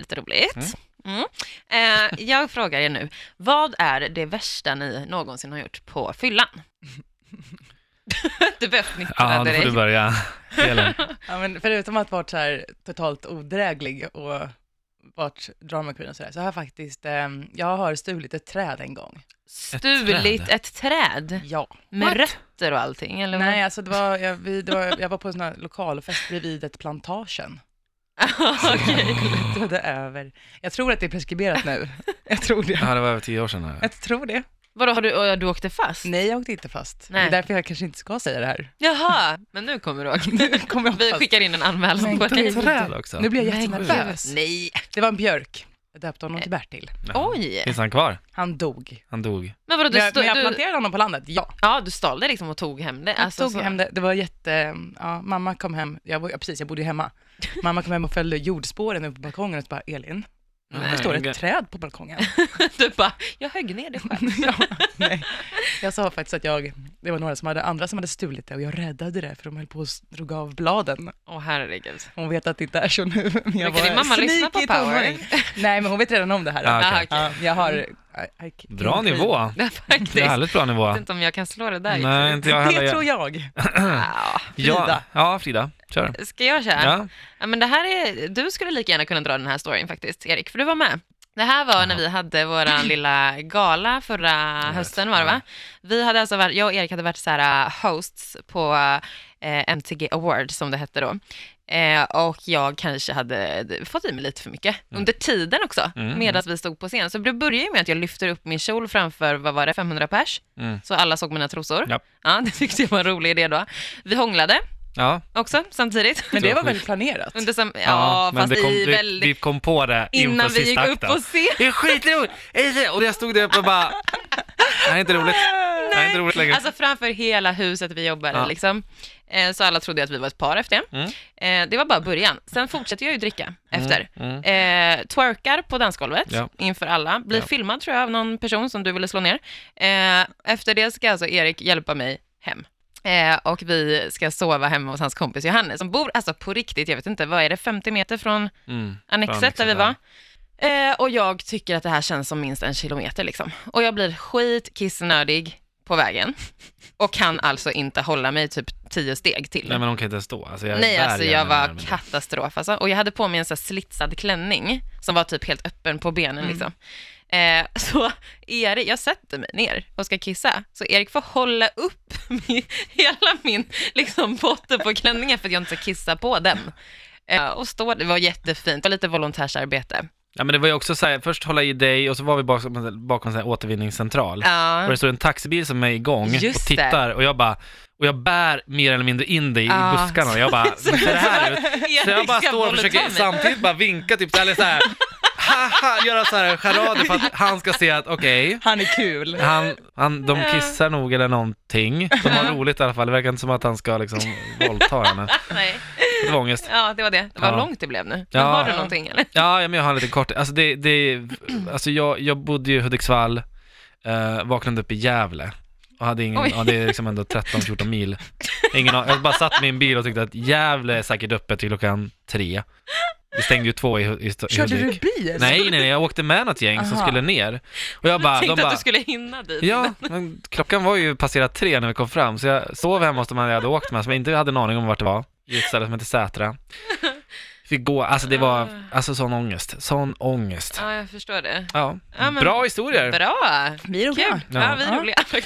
lite roligt. Mm. Eh, jag frågar er nu, vad är det värsta ni någonsin har gjort på fyllan? du behöver fnittra Ja, då får du direkt. börja. Elin. Ja, men förutom att varit så här totalt odräglig och varit drama queen och sådär, så har jag faktiskt, eh, jag har stulit ett träd en gång. Stulit ett träd Ja. med What? rötter och allting, eller? vad? Nej, alltså det var, jag, vi, det var, jag var på en sån här lokalfest bredvid ett plantagen. Okej. Klättrade över. Jag tror att det är preskriberat nu. Jag tror det. Ja, det var över tio år sedan. här. Jag tror det. Vadå, har du, och du åkte fast? Nej, jag åkte inte fast. Nej. Det är därför jag kanske inte ska säga det här. Jaha, men nu kommer du ihåg. Nu kommer jag Vi fast. skickar in en anmälan Men på dig. gud. Träd också. Nu blir jag Men jättenervös. gud, Nej. Det var en björk. Jag döpte honom till Bertil. Ja. Oj. Finns han kvar? Han dog. Han dog. Men vadå, Men du, jag, stod, men jag du, planterade honom på landet, ja. ja, du stal det liksom och tog hem det? Jag alltså, tog så- hem det. Det var jätte... Ja, mamma kom hem. Jag, bo- ja, precis, jag bodde ju hemma. Mamma kom hem och följde jordspåren upp på balkongen och så bara, Elin, det Nej, står okej. ett träd på balkongen. Du bara, jag högg ner det själv. ja, nej. Jag sa faktiskt att jag, det var några som hade, andra som hade stulit det och jag räddade det för de höll på och s- drog av bladen. Åh herregud. Hon vet att det inte är så nu, men Men jag kan din mamma lyssna på sneaky Power? tonåring. Nej, men hon vet redan om det här. Ja, okej. Aha, Ah, okej. Ja, jag har... I, I can't Bra believe- nivå. Det är faktiskt. Det är Jag härligt bra nivå. vet inte om jag kan slå det där. Nej, inte jag heller. Det tror jag. Ja. Ja, Frida. ja Frida. Kör. Ska jag köra? Ja. Ja, men det här är, du skulle lika gärna kunna dra den här storyn faktiskt, Erik, för du var med. Det här var när vi hade vår lilla gala förra vet. hösten var det Ja. va? Vi hade alltså varit, jag och Erik hade varit så här uh, hosts på eh, MTG Awards som det hette då. Eh, och jag kanske hade d- fått i mig lite för mycket under tiden också, Mm. medan vi stod på scen. Så det började ju med att jag lyfter upp min kjol framför, vad var det, 500 pers? Mm. Så alla såg mina trosor. Ja. Ja, det tyckte jag var en rolig idé då. Vi hånglade Ja, också samtidigt. Men det var väl Sjukt. planerat? Under sam- ja, men fast det kom, i vi, väldigt... vi kom på det inför innan vi gick sista upp akten. på scen. Det är skitroligt! Ej, ej, Och jag stod där uppe och bara, det här är inte roligt. Nej. Det här är inte roligt längre. Alltså framför hela huset vi jobbade Ja. liksom. Eh, Så alla trodde att vi var ett par efter det. Mm. Eh, Det var bara början. Sen fortsätter jag ju dricka efter. Mm. Eh, twerkar på dansgolvet Ja. inför alla. Blir Ja. filmad tror jag av någon person som du ville slå ner. Eh, efter det ska alltså Erik hjälpa mig hem. Eh, och vi ska sova hemma hos hans kompis Johannes som bor, alltså på riktigt, jag vet inte, vad är det, 50 meter från Mm. Annexet Annexet, där vi ja. var. Eh, och jag tycker att det här känns som minst en kilometer liksom. Och jag blir skitkissnödig på vägen. Och kan alltså inte hålla mig typ tio steg till. Nej men hon kan inte stå. Alltså, jag är Nej, där alltså igen, jag menar, var men- katastrof alltså. Och jag hade på mig en så här slitsad klänning som var typ helt öppen på benen Mm. liksom. Eh, så Erik, jag sätter mig ner och ska kissa, så Erik får hålla upp min, hela min liksom, botten på klänningen för att jag inte ska kissa på den. Eh, och stå, det var jättefint, det var lite volontärsarbete. Ja men det var ju också såhär, först hålla i dig och så var vi bakom, bakom en sån här återvinningscentral. Och Ja, det stod en taxibil som är igång Just och tittar och jag bara, och jag bär mer eller mindre in dig Ja. i buskarna och jag bara, ser det här ut? Så jag bara står och försöker samtidigt bara vinka typ, eller såhär, haha, göra såhär charader för att han ska se att okej, Han är kul. Han, han, de kissar nog eller någonting. De har roligt i alla fall. Det verkar inte som att han ska liksom våldta henne. Nej. Det var ångest. Ja, det var det. Det var Ja. långt det blev nu. Ja. Men Har du någonting eller? Ja, ja, men jag har en liten kort. Alltså, det, det, alltså jag, jag bodde ju i Hudiksvall, eh, vaknade upp i Gävle och hade ingen, Oj. ja, det är liksom ändå 13-14 mil. Ingen, an- jag bara satt i min bil och tyckte att Gävle är säkert öppet till klockan tre. Vi stängde ju två i, Hu- i, Sto- i Körde du Hudik. bil? Nej, nej, nej, jag åkte med något gäng som Aha. skulle ner. Och jag bara, jag de tänkte att bara, du skulle hinna dit. Ja, men klockan var ju passerat tre när vi kom fram, så jag sov hemma hos de här jag hade åkt med, som jag inte hade en aning om vart det var, i ett ställe som heter Sätra. Fick gå, alltså det var, alltså sån ångest, sån ångest. Ah. Ja, jag förstår det. Ja, Ja, men- bra historier. Bra! Vi är roliga. Kul! Ja, Ja. vi är Ja. roliga.